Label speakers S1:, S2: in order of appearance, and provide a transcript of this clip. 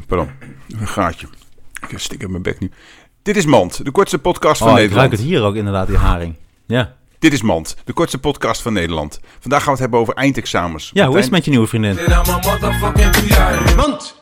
S1: Pardon, een gaatje. Ik stik in mijn bek nu. Dit is Mand, de kortste podcast van
S2: Oh, ik
S1: Nederland.
S2: ruik het hier ook inderdaad, die haring. Ja,
S1: Dit is Mand, de kortste podcast van Nederland. Vandaag gaan we het hebben over eindexamens.
S2: ja hoe
S1: Martijn,
S2: is het met je nieuwe vriendin?
S3: Then I'm a motherfucking P.I. Munt.